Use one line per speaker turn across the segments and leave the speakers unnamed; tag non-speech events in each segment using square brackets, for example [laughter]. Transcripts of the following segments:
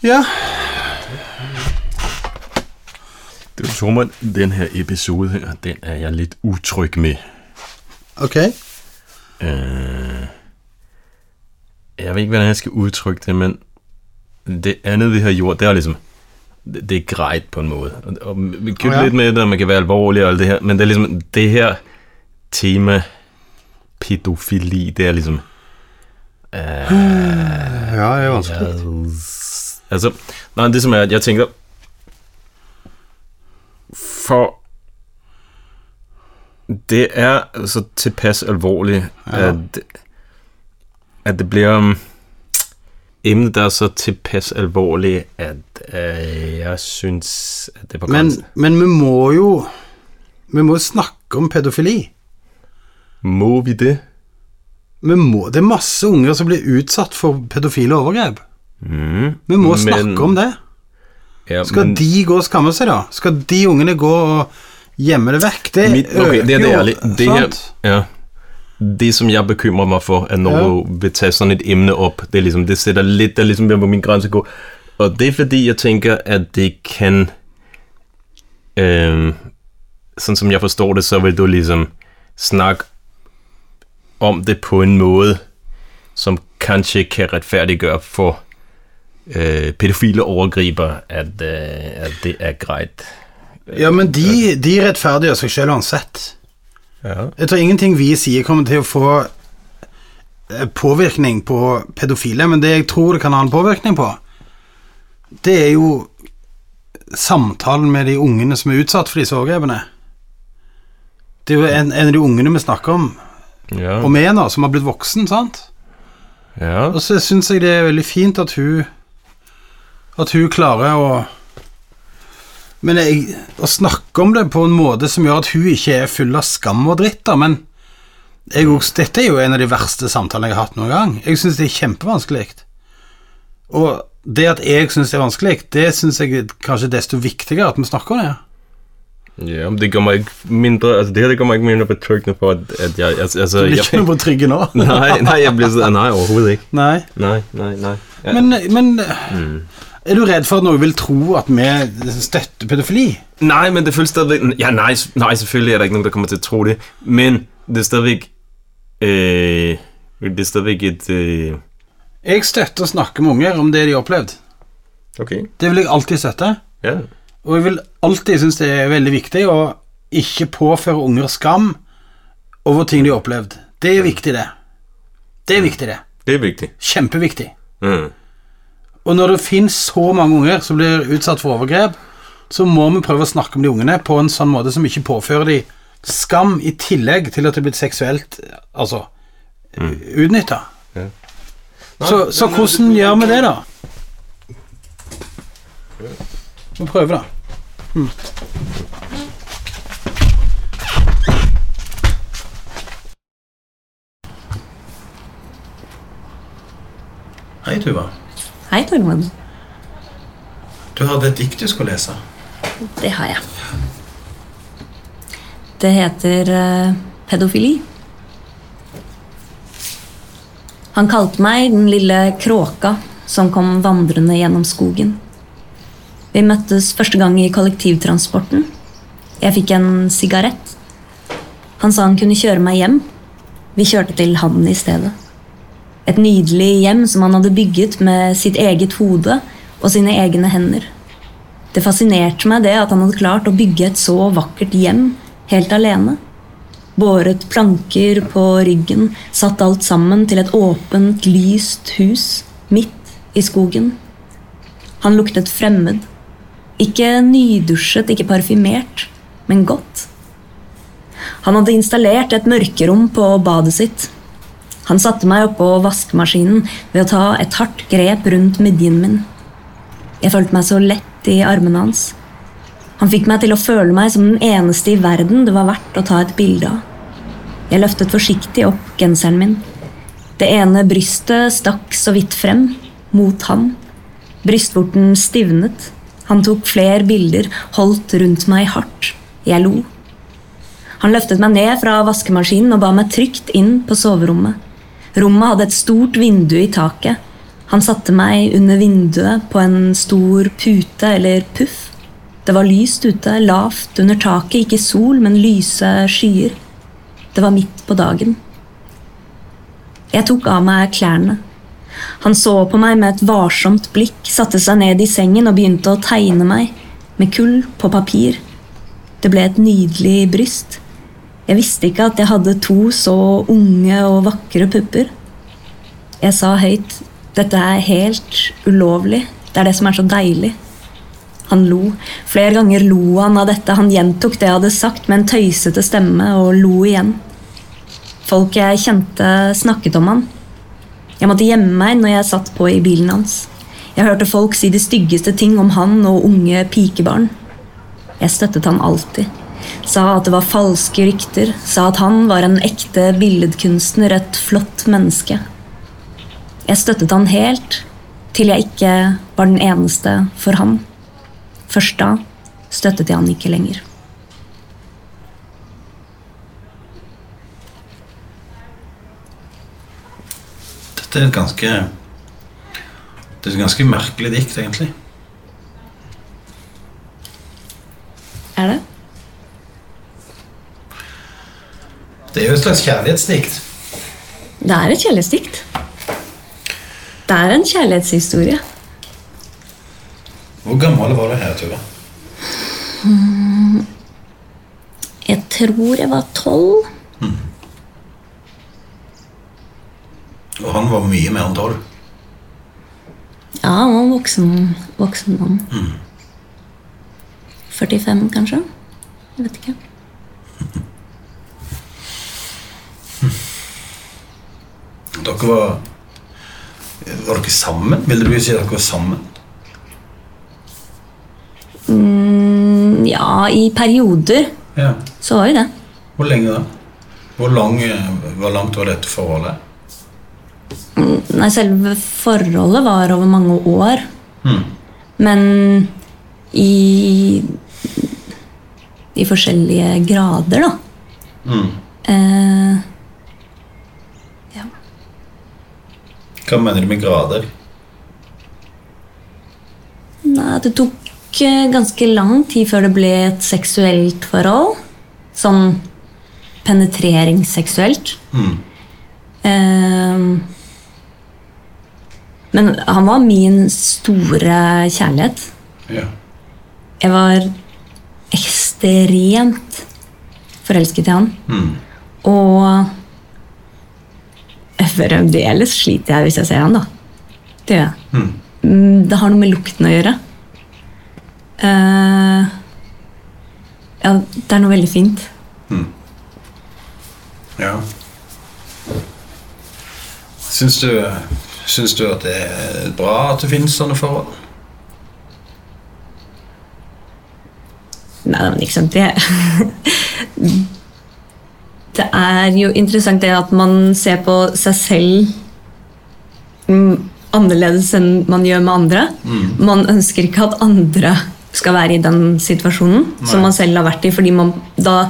Ja.
Du, Tormund, den her episode her, den er jeg lidt utryg med.
Okay.
Øh, jeg ved ikke, hvordan jeg skal udtrykke det, men det andet, vi har gjort, det er ligesom, det, det er grejt på en måde. Og, og vi kan
Åh, ja.
ja. lidt med det, og man kan være alvorlig og alt det her, men det er ligesom, det her tema, pædofili, det er ligesom,
Ja, det er vanskelig.
Altså, nej, det som er, at jeg tænker, for det er så tilpas alvorligt, ja. at, at det bliver um, emne, der er så tilpas alvorligt, at øh, jeg synes, at det er på
Men,
grænsen.
men vi må jo Vi må snakke om pedofili.
Må vi det?
Vi må, det er masse unger som blir utsatt for pedofile overgrep.
Mm.
Vi må snakke om det.
Ja,
Skal
men,
de gå og skamme seg, da? Skal de ungene gå og gjemme det vekk? Det
Mit, okay, det er
øker
det
Øh, jo,
ærlige. Det, her,
sant?
ja, det som jeg bekymrer mig for, er når
Ja.
ja. du vil tage sådan et emne op, det, er ligesom, det sætter lidt, der ligesom bliver på min grænse gå. Og det er fordi, jeg tænker, at det kan... Øh, sådan som jeg forstår det, så vil du ligesom snakke om det på en måde, som kanskje kan retfærdiggøre for øh, pædofile overgriber, at, øh, at det er greit.
Ja, men de, de rettferdiggjør seg selv uansett.
Ja.
Jeg tror ingenting vi sier kommer til å få eh, påvirkning på pedofile, men det jeg tror det kan ha en påvirkning på, det er jo samtalen med de ungene som er utsatt for disse overgrepene. Det er jo en, en av de ungene vi snakker om,
Ja.
og vi nå, som har blitt voksen, sant?
ja.
Og så syns jeg det er veldig fint at hun At hun klarer å Men jeg, å snakke om det på en måte som gjør at hun ikke er full av skam og dritt, da, men jeg, også- dette er jo en av de verste samtalene jeg har hatt noen gang. Jeg syns det er kjempevanskelig. Og det at jeg syns det er vanskelig, det syns jeg er kanskje desto viktigere at vi snakker om det.
Ja, men det gør mig ikke mindre, altså det her det gør mig ikke mindre betryggende for, at, at jeg, altså, altså
Du blir ikke
[laughs] jeg,
noe på trygge nå.
nej, nej, jeg bliver sådan, nej, overhovedet ikke.
Nei.
Nej, nej, nej. Ja.
Men, men er du redd for at noen vil tro at vi støtter pedofili?
nej, men det føles stadigvæk, ja, nej, s- nej, selvfølgelig er der ikke nogen, der kommer til at tro det, men det er stadigvæk, øh, det er stadigvæk et, øh,
Jeg støtter å snakke med unger om det de har opplevd.
okay,
Det vil jeg alltid støtte.
ja,
Og jeg vil alltid synes det er veldig viktig å ikke påføre unger skam over ting de har opplevd. Det er viktig, det. Det er viktig, det.
det er vigtigt.
Kjempeviktig.
Mm.
Og når det finnes så mange unger som blir utsatt for overgrep, så må vi prøve å snakke om de ungene på en sånn måte som ikke påfører de skam i tillegg til at de er blitt seksuelt altså, utnytta.
Ja.
Så, så hvordan gjør vi det, da? Vi prøver, da. Mm. Hei, Tuva.
Hei, Tormod.
Du hadde et dikt du skulle lese.
Det har jeg. Det heter eh, pedofili. Han kalte meg den lille kråka som kom vandrende gjennom skogen. Vi møttes første gang i kollektivtransporten. Jeg fikk en sigarett. Han sa han kunne kjøre meg hjem. Vi kjørte til han i stedet. Et nydelig hjem som han hadde bygget med sitt eget hode og sine egne hender. Det fascinerte meg det at han hadde klart å bygge et så vakkert hjem helt alene. Båret planker på ryggen, satt alt sammen til et åpent, lyst hus midt i skogen. Han luktet fremmed. Ikke nydusjet, ikke parfymert, men godt. Han hadde installert et mørkerom på badet sitt. Han satte meg oppå vaskemaskinen ved å ta et hardt grep rundt midjen min. Jeg følte meg så lett i armene hans. Han fikk meg til å føle meg som den eneste i verden det var verdt å ta et bilde av. Jeg løftet forsiktig opp genseren min. Det ene brystet stakk så vidt frem, mot han. Brystvorten stivnet. Han tok flere bilder, holdt rundt meg hardt. Jeg lo. Han løftet meg ned fra vaskemaskinen og ba meg trygt inn på soverommet. Rommet hadde et stort vindu i taket. Han satte meg under vinduet på en stor pute eller puff. Det var lyst ute, lavt under taket, ikke sol, men lyse skyer. Det var midt på dagen. Jeg tok av meg klærne. Han så på meg med et varsomt blikk, satte seg ned i sengen og begynte å tegne meg, med kull på papir. Det ble et nydelig bryst. Jeg visste ikke at jeg hadde to så unge og vakre pupper. Jeg sa høyt 'Dette er helt ulovlig. Det er det som er så deilig'. Han lo. Flere ganger lo han av dette. Han gjentok det jeg hadde sagt med en tøysete stemme, og lo igjen. Folk jeg kjente, snakket om han. Jeg måtte gjemme meg når jeg satt på i bilen hans. Jeg hørte folk si de styggeste ting om han og unge pikebarn. Jeg støttet han alltid. Sa at det var falske rykter. Sa at han var en ekte billedkunstner, et flott menneske. Jeg støttet han helt, til jeg ikke var den eneste for han. Først da støttet jeg han ikke lenger.
Dette er et ganske Det er et ganske merkelig dikt, egentlig.
Er det?
Det er jo et slags kjærlighetsdikt.
Det er et kjærlighetsdikt. Det er en kjærlighetshistorie.
Hvor gammel var du her, Tuva?
Jeg tror jeg var tolv.
Og han var mye mer enn tolv.
Ja, han var en voksen, voksen mann. 45, kanskje? Jeg vet ikke.
Dere var Var dere sammen? Vil du si at dere var sammen?
Ja, i perioder
Ja.
så var jo det.
Hvor lenge da? Hvor, lang, eh, hvor langt var dette forholdet?
Nei, selve forholdet var over mange år.
Mhm.
Men i I forskjellige grader, da. Eh,
Hva mener du med grader?
nei, det tok eh, ganske lang tid før det ble et seksuelt forhold. Sånn penetreringsseksuelt.
Mhm.
Eh, men han var min store kjærlighet.
Ja.
Jeg var ekstremt forelsket i han. Og fremdeles sliter jeg hvis jeg ser han, da. Det gjør jeg. Mm, Det har noe med lukten å gjøre. Eh, ja, det er noe veldig fint.
ja. Syns du, syns du at det er bra at det finnes sånne forhold?
Nei, men liksom det Det er jo interessant det at man ser på seg selv mm, annerledes enn man gjør med andre. Man ønsker ikke at andre skal være i den situasjonen som man selv har vært i, fordi man da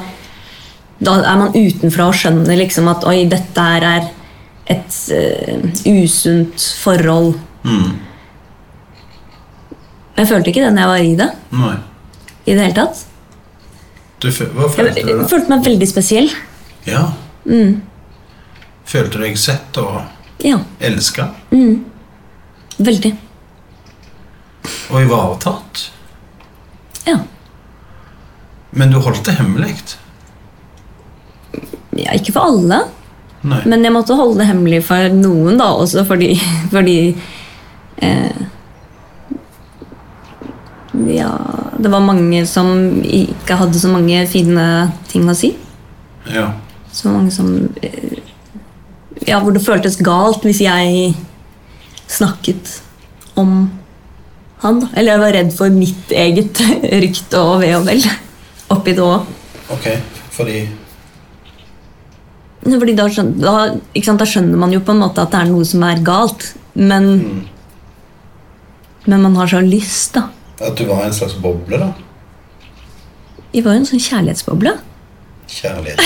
da er man utenfra og skjønner liksom at oi, dette her er et eh, usunt forhold. Jeg følte ikke det når jeg var i det.
Nei.
i det hele tatt.
Du, fø- hva følte
Jeg
du da?
eh, følte meg veldig spesiell.
Ja. Følte du deg sett og
Ja,
elska
veldig.
og ivaretatt?
Ja.
Men du holdt det hemmelig?
ja. Ikke for alle,
Nei.
men jeg måtte holde det hemmelig for noen, da, også fordi, [laughs] fordi eh, Ja Det var mange som ikke hadde så mange fine ting å si.
Ja.
Så mange som eh, Ja, hvor det føltes galt hvis jeg snakket om han. da. Eller jeg var redd for mitt eget [laughs] rykte og ve og vel oppi det òg.
Ok, fordi
Fordi da, skjøn- da, ikke sant, da skjønner man jo på en måte at det er noe som er galt, men Men man har så lyst, da.
At du var en slags boble, da?
Vi var jo en sånn kjærlighetsboble.
Kjærlighet.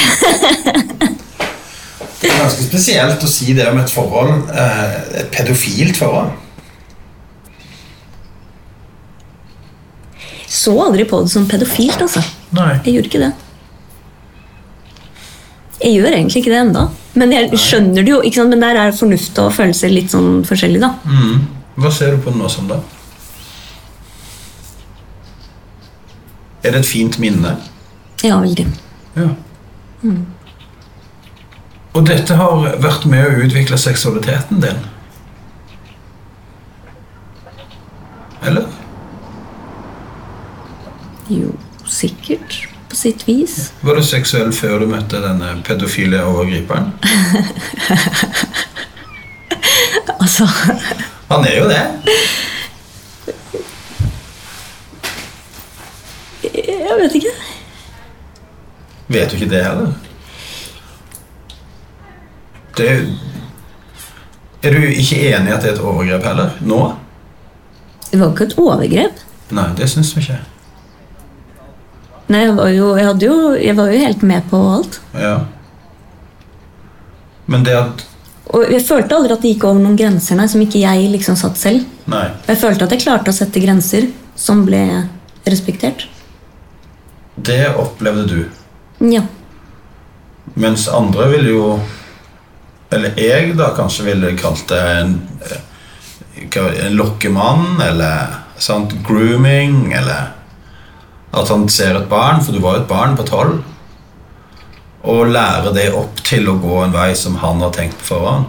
Det er ganske spesielt å si det om et forhold, eh, et pedofilt forhold.
Så aldri på det som pedofilt, altså.
Nei.
Jeg gjorde ikke det. Jeg gjør egentlig ikke det enda. Men jeg skjønner det jo, ikke sant? Men der er fornuft og følelser litt sånn forskjellig, da.
Mm. Hva ser du på nå som da? Er det et fint minne?
Ja, veldig.
Ja. Mm. Og dette har vært med å utvikle seksualiteten din? Eller?
Jo, sikkert. På sitt vis. [laughs]
Var du seksuell før du møtte denne pedofile overgriperen?
Altså,
Han er jo det.
jeg vet ikke.
Vet du ikke det heller? Det er jo- Er du ikke enig i at det er et overgrep heller? Nå?
Det var jo ikke et overgrep.
Nei, det syns du ikke.
Nei, jeg var jo, jeg hadde jo, jeg var jo helt med på alt.
Ja. Men det at
Og jeg følte aldri at det gikk over noen grenser, nei, som ikke jeg liksom satt selv.
Nei.
Og jeg følte at jeg klarte å sette grenser som ble respektert.
Det opplevde du.
Ja.
Mens andre ville jo Eller jeg, da, kanskje ville kalt det en, hva- en lokkemann, eller sant, grooming, eller At han ser et barn, for du var jo et barn på tolv. Og lære det opp til å gå en vei som han har tenkt på forhånd.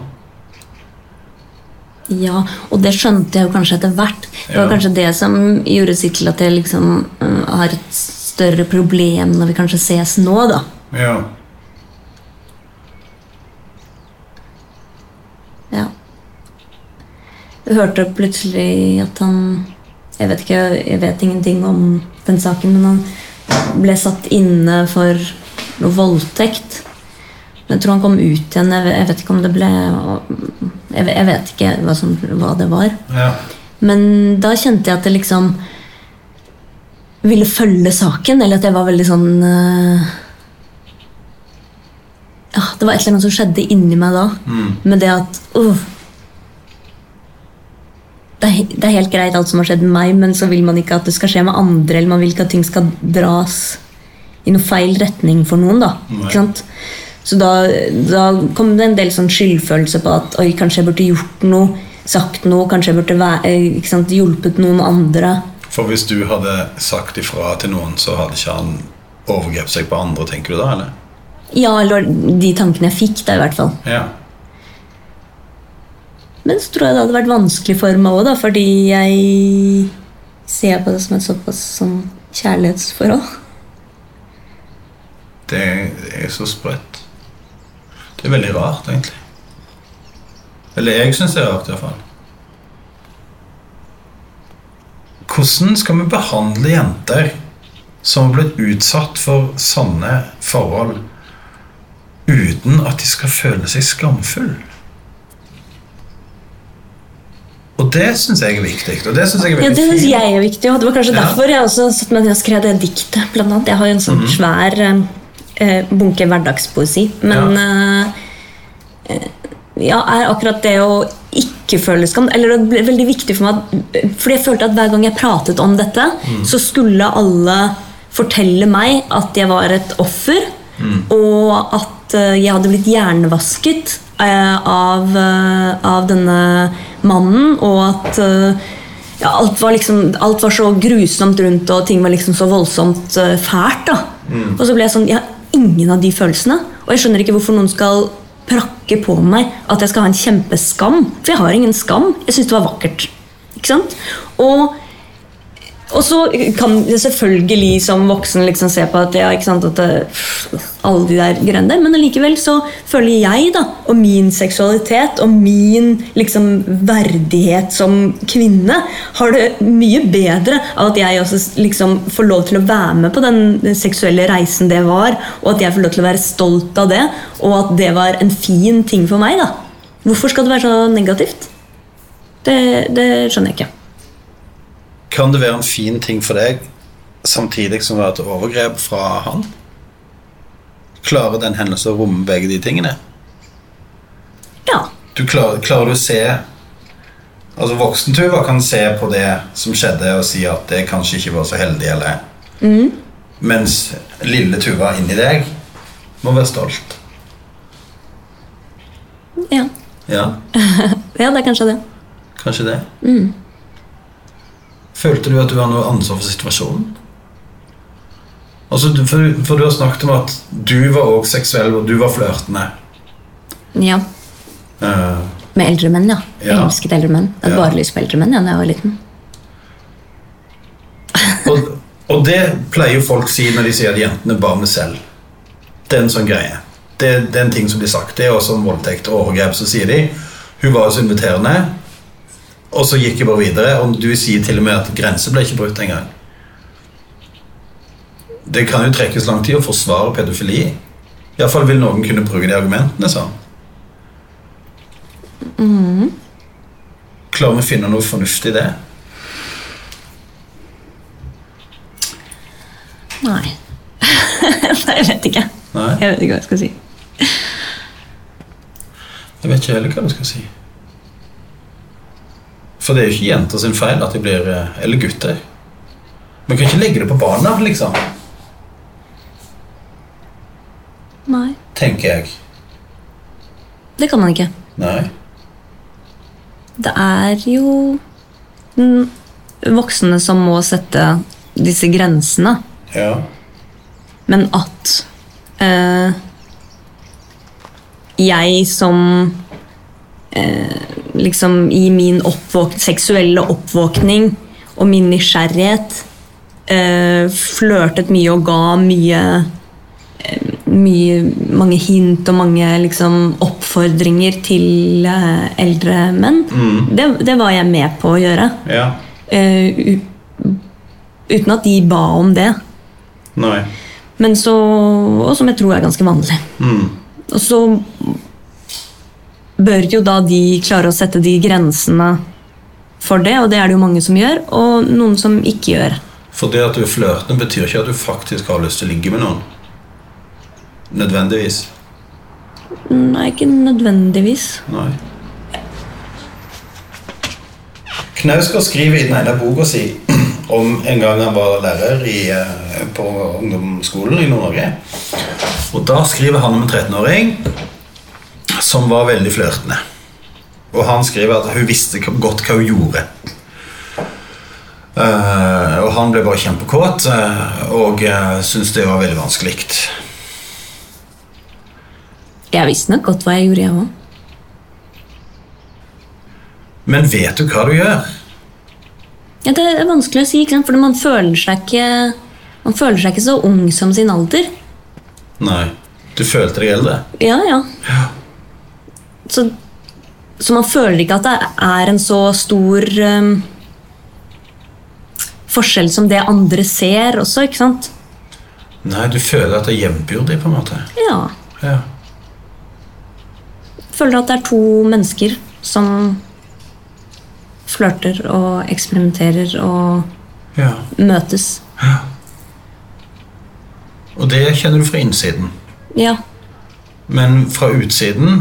Ja, og det skjønte jeg jo kanskje etter hvert. Det var
Ja.
kanskje det som gjorde sitt til at jeg liksom mm, har et større problem når vi kanskje ses nå, da.
Ja.
Ja. Jeg hørte plutselig at han Jeg vet ikke, jeg vet ingenting om den saken, men han ble satt inne for noe voldtekt. Men jeg tror han kom ut igjen. Jeg vet- Jeg vet ikke om det ble Jeg jeg vet ikke hva, som, hva det var.
ja.
Men da kjente jeg at jeg liksom ville følge saken, eller at jeg var veldig sånn eh, Ja, det var et eller annet som skjedde inni meg da, med det at uh, det, er, he- det er helt greit alt som har skjedd med meg, men så vil man ikke at det skal skje med andre, eller man vil ikke at ting skal dras i noe feil retning for noen, da.
Nei.
Ikke sant? Så da, da kom det en del sånn skyldfølelse på at oi, kanskje jeg burde gjort noe, sagt noe, kanskje jeg burde væ- eh, ikke sant, hjulpet noen andre.
For hvis du hadde sagt ifra til noen, så hadde ikke han overgrepet seg på andre, tenker du da, eller?
Ja, eller de tankene jeg fikk, da i hvert fall.
Ja.
Men så tror jeg det hadde vært vanskelig for meg òg, da, fordi jeg ser på det som et såpass sånn kjærlighetsforhold.
Det er så sprøtt. Det er veldig rart, egentlig. Eller jeg syns det er rart, iallfall. Hvordan skal vi behandle jenter som har blitt utsatt for sånne forhold, uten at de skal føle seg skamfull? Og det syns jeg er viktig. Og det synes jeg er
Ja,
veldig
Det syns
fint.
jeg er viktig, og det var kanskje
Ja.
derfor jeg også satt meg ned og skrev det diktet. Blant annet. Jeg har jo en
Mhm.
sånn svær eh, bunke hverdagspoesi, men eh, eh, ja, er akkurat det å ikke føle skam Eller det ble veldig viktig for meg at, Fordi jeg følte at hver gang jeg pratet om dette,
Mhm.
så skulle alle fortelle meg at jeg var et offer,
Mhm.
og at eh, jeg hadde blitt hjernevasket eh, av, eh, av denne mannen, og at eh, ja, alt, var liksom, alt var så grusomt rundt, og ting var liksom så voldsomt eh, fælt. da. Og så ble jeg sånn Jeg har ingen av de følelsene. Og jeg skjønner ikke hvorfor noen skal prakke på meg at jeg skal ha en kjempeskam. For jeg har ingen skam. Jeg syns det var vakkert. Ikke sant? Og og så kan jeg selvfølgelig som voksen liksom se på at, ja, ikke sant, at det, alle de der greiene der, men allikevel så føler jeg da, og min seksualitet og min liksom verdighet som kvinne har det mye bedre av at jeg også liksom får lov til å være med på den seksuelle reisen det var, og at jeg får lov til å være stolt av det, og at det var en fin ting for meg da. Hvorfor skal det være så negativt? Det, det skjønner jeg ikke.
Kan det være en fin ting for deg, samtidig som det var et overgrep fra han? Klarer den hendelsen å romme begge de tingene?
Ja.
Du klarer, klarer du å se Altså Voksentuva kan se på det som skjedde, og si at det kanskje ikke var så heldig, eller Mens lille Tuva inni deg må være stolt.
Ja,
Ja,
ja det er kanskje det.
kanskje det. Følte du at du har noe ansvar for situasjonen? Altså, du- for, for du har snakket om at du var også seksuell, og du var flørtende.
Ja.
Eh,
Med eldre menn, ja. Jeg
Ja.
elsket eldre menn. Jeg hadde
Ja.
bare lyst på eldre menn ja, da jeg var liten.
Og, og det pleier jo folk si når de sier at jentene bar med selv. Det er en sånn greie. Det, det er en ting som blir sagt. Det er også om voldtekt og overgrep. Så sier de hun var jo så inviterende, og så gikk jeg bare videre. Og du sier til og med at grenser ble ikke brutt engang. Det kan jo trekkes lang tid å forsvare pedofili. Iallfall vil noen kunne bruke de argumentene sånn. Klarer vi å finne noe fornuftig i det?
Nei. [laughs] Nei, jeg vet ikke.
Nei?
Jeg vet ikke hva jeg skal si.
Jeg vet ikke heller hva du skal si. For det er jo ikke jenter sin feil at de blir eh, Eller gutter. Man kan ikke legge det på barna, liksom.
Nei.
Tenker jeg.
Det kan man ikke.
Nei.
Det er jo mm, voksne som må sette disse grensene.
Ja.
Men at eh, jeg som eh, liksom i min oppvåk seksuelle oppvåkning og min nysgjerrighet eh, flørtet mye og ga mye eh, mye, mange hint og mange liksom, oppfordringer til eh, eldre menn. Det, det var jeg med på å gjøre.
Ja.
eh, u- uten at de ba om det.
Nei.
Men så, og som jeg tror er ganske vanlig. Og så bør jo da de klare å sette de grensene for det, og det er det jo mange som gjør, og noen som ikke gjør.
For det at du er flørtende, betyr ikke at du faktisk har lyst til å ligge med noen. Nødvendigvis.
Nei, ikke nødvendigvis.
Nei. Knausgård skriver i den ene boka si om en gang han var lærer i, eh, på ungdomsskolen i Nord-Norge. Og da skriver han om en 13-åring som var veldig flørtende. Og han skriver at hun visste hva- godt hva hun gjorde. Eh, og han ble bare kjempekåt eh, og uh, syntes det var veldig vanskelig.
Jeg visste nok godt hva jeg gjorde, jeg òg.
Men vet du hva du gjør?
Ja, det er vanskelig å si, ikke sant? for man føler, seg ikke, man føler seg ikke så ung som sin alder.
Nei. Du følte deg eldre?
Ja, ja. Så, så man føler ikke at det er en så stor ehm, forskjell som det andre ser også, ikke sant?
Nei, du føler at det er jevnbyrdig, på en måte.
Ja.
Ja.
Føler at det er to mennesker som flørter og eksperimenterer og
ja.
møtes.
Og det kjenner du fra innsiden.
Ja.
Men fra utsiden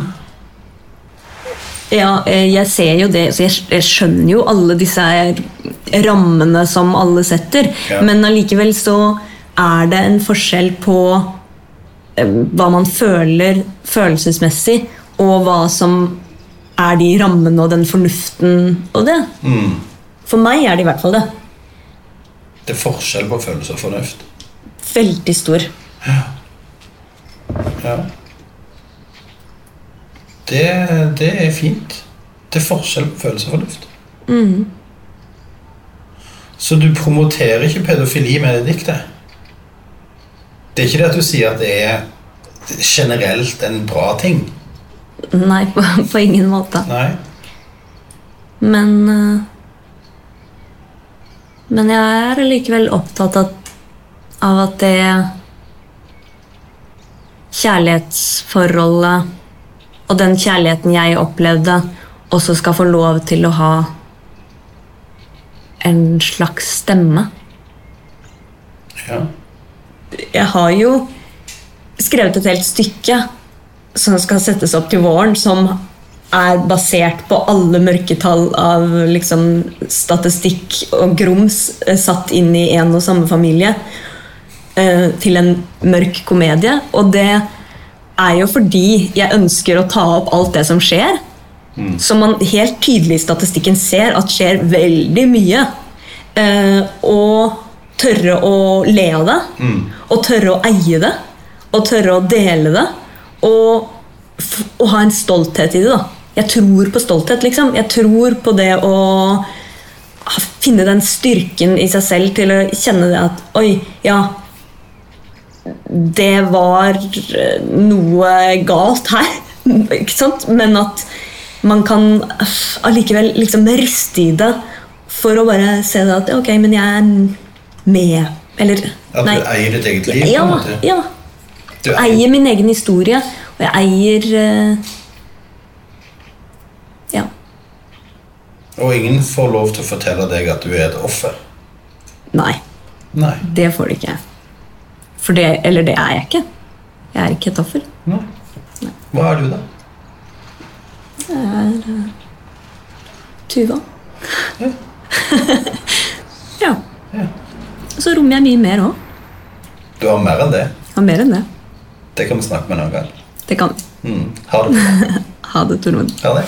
Ja, eh, jeg ser jo det, så jeg, jeg skjønner jo alle disse her rammene som alle setter,
Ja.
men allikevel så er det en forskjell på eh, hva man føler følelsesmessig, og hva som er de rammene og den fornuften og det. For meg er det i hvert fall det.
Det er forskjell på følelse og fornuft.
Veldig stor.
Ja. Det, det er fint. Det er forskjell på følelse og fornuft.
Mm.
Så du promoterer ikke pedofili med det diktet? Det er ikke det at du sier at det er generelt en bra ting.
Nei, på, på ingen måte.
Nei.
Men eh, Men jeg er likevel opptatt av, av at det kjærlighetsforholdet og den kjærligheten jeg opplevde, også skal få lov til å ha en slags stemme.
Ja.
Jeg har jo skrevet et helt stykke som skal settes opp til våren, som er basert på alle mørketall av liksom, statistikk og grums eh, satt inn i en og samme familie eh, til en mørk komedie. Og det er jo fordi jeg ønsker å ta opp alt det som skjer, som man helt tydelig i statistikken ser at skjer veldig mye. Eh, og tørre å le av det, og tørre å eie det, og tørre å dele det. Og, f og ha en stolthet i det. da. Jeg tror på stolthet, liksom. Jeg tror på det å ha- finne den styrken i seg selv til å kjenne det at Oi, ja, det var eh, noe galt her. [laughs] Ikke sant? Men at man kan eh, allikevel liksom riste i det for å bare se det at ok, men jeg er med. Eller
At
nei.
du eier ditt eget liv? på en
Ja,
måte.
ja.
Du
Jeg eier min egen historie, og jeg eier eh, Ja.
Og ingen får lov til å fortelle deg at du er et offer.
Nei,
Nei.
det får du ikke. For det Eller det er jeg ikke. Jeg er ikke et offer.
Nei. Hva er du, da?
Tuva. [laughs] ja. Og så rommer jeg mye mer òg.
Du har mer enn det.
Har mer enn det.
Det kan vi snakke med noen gang.
Det kan vi.
Mm. Ha det. bra.
Ha det, Tormod.
Ha det.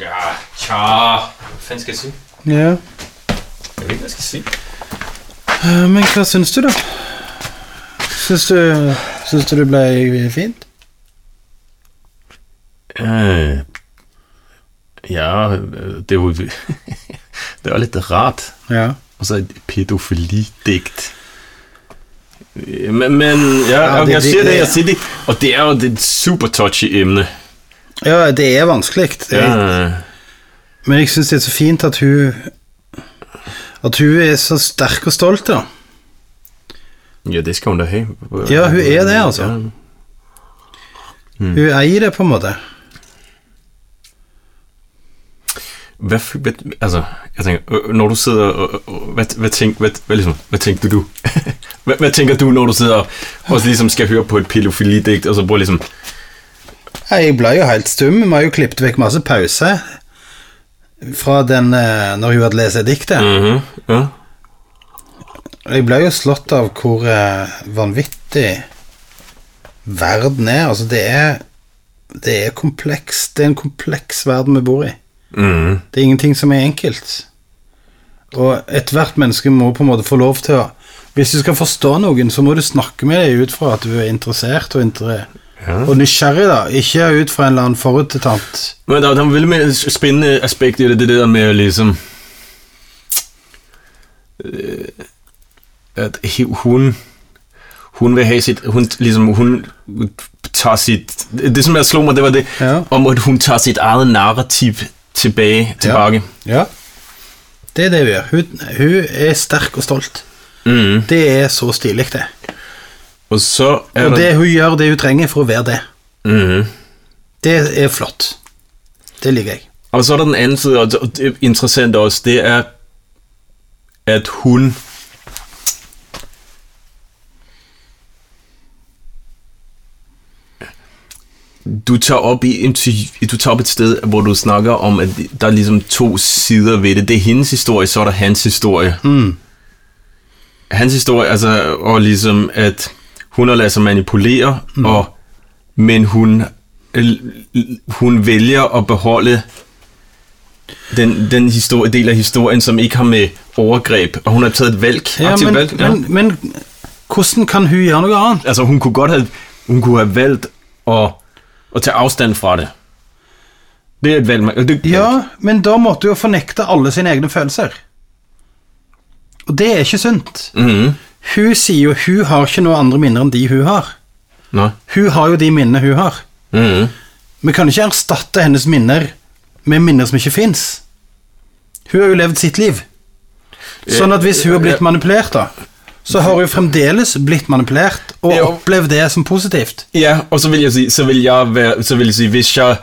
Ja, tja Hva faen skal jeg si?
Ja.
Jeg vet ikke hva jeg skal si.
Eh, Men hva syns du, da? Syns du, syns du det ble fint?
Eh, ja, Øh, det er jo [laughs] Det var litt rart.
Ja.
Og så et pædofilidigt. Men, men ja,
Ja,
og
det-
jeg
det-
siger det,
det-
jeg siger det. Og det er jo det super touchy emne.
Ja, det er vanskelig. Det er,
Ja.
Men jeg syns det er så fint at hun At hun er så sterk og stolt, da.
ja, det skal hun da have.
Ja, hun er det, altså. Hun eier det, på en måte.
Hvad, fy- hvad, altså, jeg tænker, øh, når du sidder og, og- og- hvad, hvad, tænk, hvad, hvad, ligesom, hvad tænkte du? [laughs] hvad, hvad tænker du, når du sidder og, og ligesom skal høre på et pædofilidigt, og så bruger ligesom,
Nei, Jeg ble jo helt stum. Vi har jo klippet vekk masse pause fra den eh, når hun hadde lest diktet.
mhm, ja,
Jeg ble jo slått av hvor eh, vanvittig verden er. Altså, det er Det er kompleks. Det er en kompleks verden vi bor i.
mhm,
Det er ingenting som er enkelt. Og ethvert menneske må på en måte få lov til å Hvis du skal forstå noen, så må du snakke med dem ut fra at du er interessert og, inter
ja.
og nysgjerrig, da. Ikke ut fra en eller annen forutinntatt
Men der, der er vel med et spændende aspekt i det, det der med ligesom... øh, At he- hun... Hun vil have sit... Hun, ligesom, hun tager sit... Det, som jeg slog mig, det var det,
Ja.
om at hun tager sit eget narrativ tilbage, tilbage.
Ja. Det er det hun gjør. Hun, hun er sterk og stolt.
Mm.
Det er så stilig, det.
Og så er
Og
der-
det hun gjør det hun trenger for å være det.
Mhm.
Det er flott. Det liker jeg.
Og så er der den anden side, og det- og det er interessant også, det er, at hun du tager op i interv- du tager op et sted, hvor du snakker om, at der er ligesom to sider ved det. Det er hendes historie, så er der hans historie.
Hmm.
Hans historie, altså, og ligesom, at hun har ladet sig manipulere,
Hmm.
og, men hun, hun vælger at beholde den, den historie, del af historien, som ikke har med overgreb, og hun har taget et valg,
Ja,
aktivt
men,
valg. ja.
men, men hvordan kan hun gjøre noe annet?
Altså, hun kunne godt have, hun kunne have valgt at, at tage afstand fra det. Det er et valg, man, det,
Ja, men da måtte hun jo fornekte alle sine egne følelser. Og det er ikke sunt.
Mhm.
Hun sier jo hun har ikke noe andre minner enn de hun har.
Nå.
Hun har jo de minnene hun har.
Mhm.
Vi kan ikke erstatte hennes minner med minner som ikke fins. Hun har jo levd sitt liv. Sånn at hvis hun har blitt manipulert, da, så har hun fremdeles blitt manipulert og
Ja.
opplevd det som positivt.
Ja, og så vil jeg sige, så vil jeg være, så vil jeg sige, hvis jeg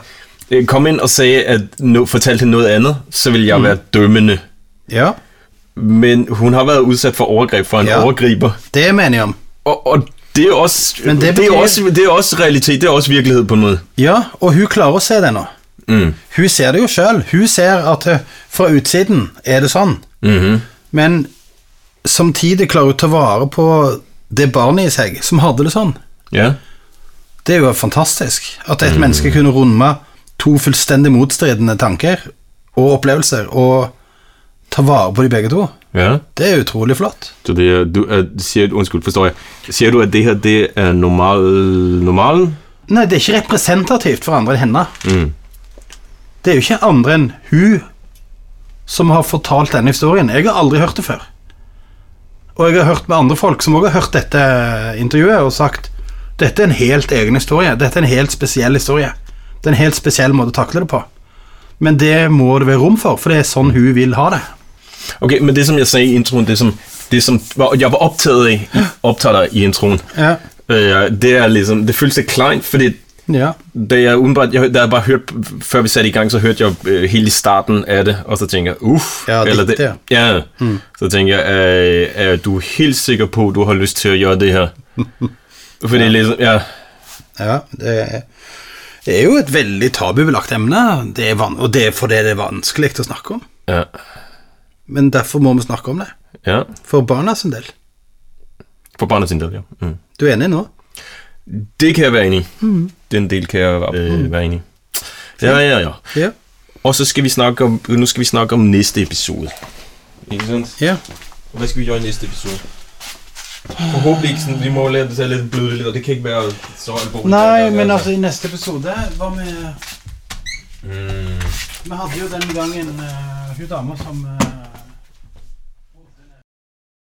øh, kom ind og sagde, at no, fortalte hende noget andet, så vil
Mm.
jeg være dømmende.
Ja,
Men hun har været udsat for overgreb fra en
Ja.
overgriber.
det er vi enige om.
Og, og det er også,
Men det
det, er
betyder-
også, det er også realitet, det er også virkelighed på en måde. Mm.
Ja, og hun klarer å se det nå. Hun ser det jo sjøl. Hun ser at eh, fra utsiden er det sånn.
Mhm.
Men samtidig klarer hun å ta vare på det barnet i seg som hadde det sånn.
Ja.
Det er jo fantastisk. At et menneske kunne runde to fullstendig motstridende tanker og opplevelser og ta vare på de begge to.
Ja.
Det er utrolig flott.
Så det er, du, er, siger, undskyld, forstår jeg. Siger du, at det her, det er normal, normalen?
Nei, det er ikke representativt for andre enn henne. Mm. Det er jo ikke andre enn hun som har fortalt denne historien. Jeg har aldri hørt det før. Og jeg har hørt med andre folk som også har hørt dette intervjuet og sagt dette er en helt egen historie. Dette er en helt spesiell historie. Det er en helt spesiell måte å takle det på. Men det må det være rom for, for det er sånn hun vil ha det.
Okay, men det som jeg sagde i introen, det som, det som var- jeg var optaget af, optaget af i introen,
Ja.
øh, det er liksom, det føles lidt kleint, fordi
Ja.
da jeg umiddelbart, jeg, da jeg bare hørte, før vi satte i gang, så hørte jeg øh, hele starten af det, og så tænker jeg, uff.
Ja, det- Hmm. det.
Ja, så tænker jeg, øh, er du helt sikker på, at du har lyst til at gøre
[laughs]
det her? Fordi ligesom, ja,
Ja, det er, det er jo et veldig tabubelagt emne, det er van og det er fordi det er vanskelig å snakke om.
ja,
Men derfor må vi snakke om det,
ja,
for barna sin del.
for barnet sin del, ja. Mm.
Du er enig nå?
Det kan jeg være enig i.
Mm.
Den del kan jeg øh, være enig i. Ja, ja, ja.
Ja.
Og så skal vi snakke om, nu skal vi snakke om næste episode. Ikke sandt?
ja.
Hvad skal vi gøre i næste episode? Forhåbentlig ikke sådan, vi må lade det tage lidt blødt lidt, og det kan ikke være så alvorligt.
Nei, men altså, i neste episode Hva med Vi hadde jo den gangen eh, hun dama som eh,